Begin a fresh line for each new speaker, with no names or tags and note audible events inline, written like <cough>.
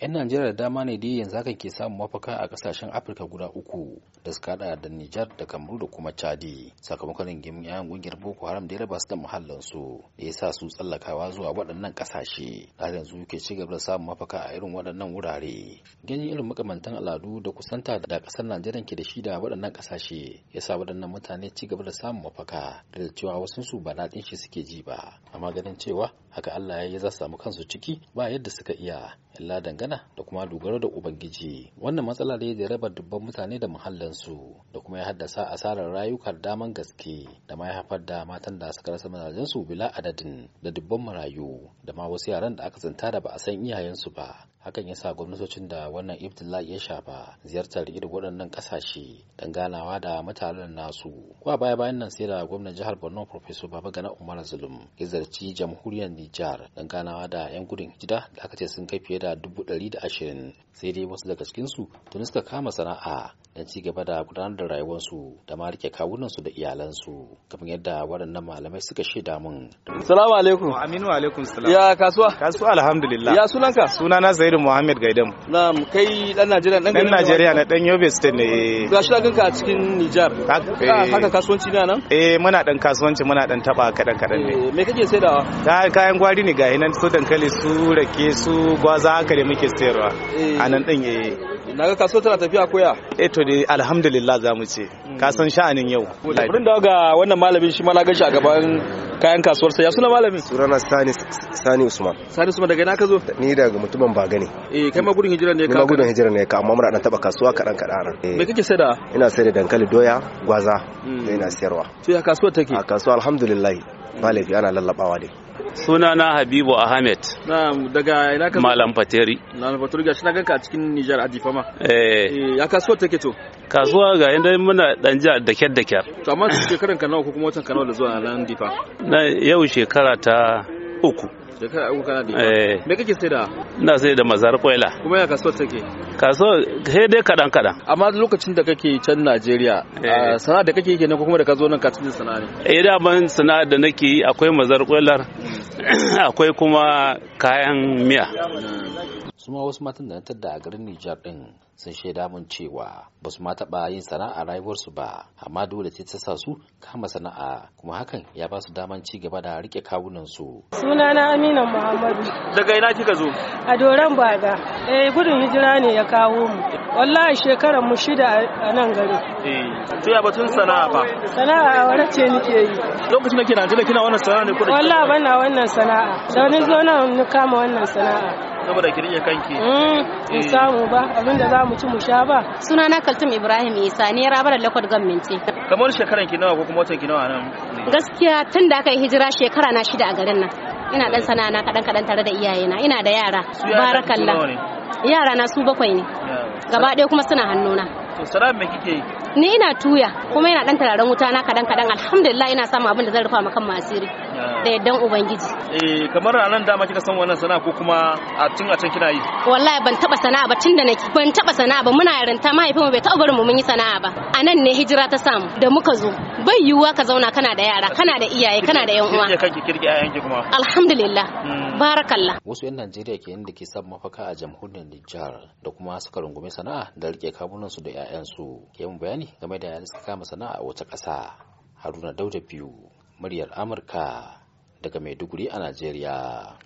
'yan najeriya da dama ne dai yanzu hakan ke samun mafaka a kasashen afirka guda uku da suka hada da nijar da kamaru da kuma chadi sakamakon rigimin 'ya'yan kungiyar boko haram da ya raba su da muhallinsu da ya sa su tsallakawa zuwa waɗannan kasashe da yanzu ke ci gaba da samun mafaka a irin waɗannan wurare ganin irin makamantan al'adu da kusanta da ƙasar najeriya ke da shi da waɗannan kasashe ya sa waɗannan mutane ci gaba da samun mafaka da cewa wasu su ba daɗin shi suke ji ba amma ganin cewa haka allah ya yi za su samu kansu ciki ba yadda suka iya illa dangana magana da kuma dogaro da ubangiji wannan matsala da ya raba dubban mutane da muhallansu da kuma ya haddasa asarar rayuka daman gaske da ma ya haifar da matan da suka rasa mazajensu bila adadin da dubban marayu da ma wasu yaran da aka zanta da ba a san iyayensu ba hakan ya sa gwamnatocin da wannan ibtila'i ya shafa ziyartar irin waɗannan ƙasashe don ganawa da mutanen nasu kuwa baya bayan nan sai da gwamnan jihar borno professor babagana umar zulum ya zarci jamhuriyar nijar don ganawa da 'yan gudun hijira da aka ce sun kai fiye da dubu ɗari da ashirin sai dai wasu daga cikinsu tuni suka kama sana'a don ci gaba da gudanar da rayuwarsu da ma rike kawunansu da iyalansu kamar yadda waɗannan malamai suka shaida mun.
Salamu alaikum.
Aminu alaikum salam.
Ya kasuwa?
Kasuwa alhamdulillah.
Ya sunanka?
Sunana Zaidu Muhammad Gaidam.
Na'am, kai dan Najeriya dan
Dan Najeriya na dan Yobe State ne.
Ga shi ganka a cikin Nijar.
Haka-
Haka kasuwanci na nan?
Eh muna dan kasuwanci muna dan taba kadan kadan ne.
Eh, Me kake saidawa?
Ta kayan gwari ne gahi nan su dankali su rake su gwaza haka da muke sayarwa.
Eh.
A nan din eh.
Na ga kasuwa tana tafiya koya.
Eh to dai alhamdulillah za mu ce. Ka san sha'anin yau.
Burin dawo ga wannan malamin shi ma na gan shi a gaban kayan kasuwarsa. Ya suna malamin?
sunana sani sani usman
Sani Suma daga ina ka zo?
ni daga mutumin baga ne
Eh, kai ma gudun hijira ne
ni
ka.
ma gudun hijira ne ka amma muna dan taba kasuwa kaɗan kaɗan nan
Me
Eh,
kake saidawa?
ina sayar da dankali doya gwaza
Mm.
da ina sayarwa
To ya kasuwar take?
a kasuwa alhamdulillah ba laifi ana lallabawa ne
sunana habibu ahmed
Na'am, daga ina ka zo?
malam fateri
Na Faturi ga shi na ganka a cikin Nijar a Difama.
eh,
Eh, ya kasuwar take to?
kasuwa ga yadda muna dan ji dake dake
To amma shekaran ka nawa ko kuma watan ka nawa da zuwa nan Difa?
na yau shekara ta uku
Shekara uku kana Difa.
eh,
Me kake saidawa?
ina sai da mazar kwaila
kuma ya kasuwar take
kasuwa sai dai kadan kadan
amma lokacin da kake can Najeriya
Eh.
a sana'a da kake kenan ko kuma da ka zo nan ka cikin sana'a ne
eh daman sana'ar da nake yi akwai mazar kwailar <clears throat> akwai kuma kayan miya
su ma wasu matan da na tadda a garin Nijar din sun shaida mun cewa ba su ma taɓa yin sana'a a rayuwarsu ba amma dole ce ta sa su kama sana'a kuma hakan ya ba su daman ci gaba da rike kawunansu
Sunana Amina Muhammadu
daga ina kika zo
a Doron Baga. Eh gudun hijira ne ya kawo mu. Wallahi shekaran mu shida a- a nan gari.
Eh. to ya batun sana'a fa
Sana'a aure ce nake yi.
lokacin da kina Najeriya kina wannan sana'a ne ko da
Wallahi bana wannan sana'a. Da ni zo nan ni kama wannan sana'a.
saboda ki rike kanki
Mm, mu samu ba abinda za mu ci mu sha ba.
sunana kaltum ibrahim isa ne rabar lakwat gwamnati
kamar shekaran ki nawa ko kuma watan ki nawa nan
gaskiya tun da aka yi hijira shekara na shida a garin nan ina dan sana'a na kadan kadan tare da iyayena ina da yara
Su yaran
barakallah
su nawa ne?
yara na su bakwai ne gaba ɗaya kuma suna hannuna
to sana'a me kike yi
ni ina tuya kuma ina dan tararen wuta na kadan kadan alhamdulillah ina samun abin da zan rufa ma kan asiri da yaddan ubangiji
eh kamar a nan dama kika san wannan sana'a ko kuma a tun a can kina yi
wallahi ban taba sana'a ba tun da nake ban taba sana'a ba muna yarinta mahaifinmu bai taba barin mu mun yi sana'a ba a nan ne hijira ta samu da muka zo bai yiwuwa ka zauna kana da yara kana da iyaye kana da yan uwa
Ki rike kanki kirki a yanki kuma
alhamdulillah
Mm.
barakallah
wasu 'yan Najeriya ke da ke samun mafaka a jamhuriyar Nijar da kuma suka rungume sana'a da rike kawunansu da 'ya'yansu ke yin bayani game da yadda suka kama sana'a a wata ƙasa Haruna Dauda biyu muryar Amurka daga Maiduguri a Najeriya